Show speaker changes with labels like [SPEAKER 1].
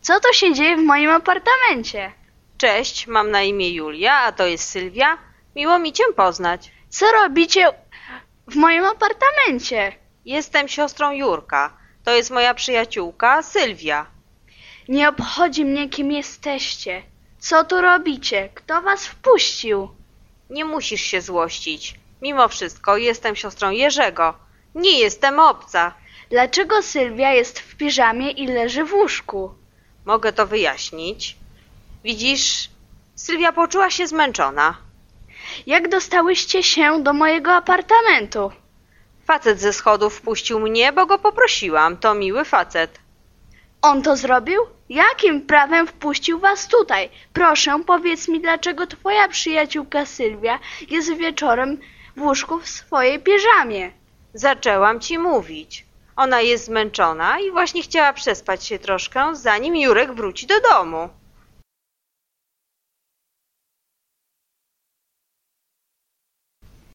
[SPEAKER 1] Co to się dzieje w moim apartamencie?
[SPEAKER 2] Cześć, mam na imię Julia, a to jest Sylwia. Miło mi cię poznać.
[SPEAKER 1] Co robicie w moim apartamencie?
[SPEAKER 2] Jestem siostrą Jurka. To jest moja przyjaciółka Sylwia.
[SPEAKER 1] Nie obchodzi mnie, kim jesteście. Co tu robicie? Kto was wpuścił?
[SPEAKER 2] Nie musisz się złościć. Mimo wszystko jestem siostrą Jerzego. Nie jestem obca.
[SPEAKER 1] Dlaczego Sylwia jest w piżamie i leży w łóżku?
[SPEAKER 2] Mogę to wyjaśnić. Widzisz, Sylwia poczuła się zmęczona.
[SPEAKER 1] Jak dostałyście się do mojego apartamentu?
[SPEAKER 2] Facet ze schodów wpuścił mnie, bo go poprosiłam. To miły facet.
[SPEAKER 1] On to zrobił? Jakim prawem wpuścił was tutaj? Proszę, powiedz mi, dlaczego twoja przyjaciółka Sylwia jest wieczorem w łóżku w swojej piżamie?
[SPEAKER 2] Zaczęłam ci mówić. Ona jest zmęczona i właśnie chciała przespać się troszkę, zanim Jurek wróci do domu.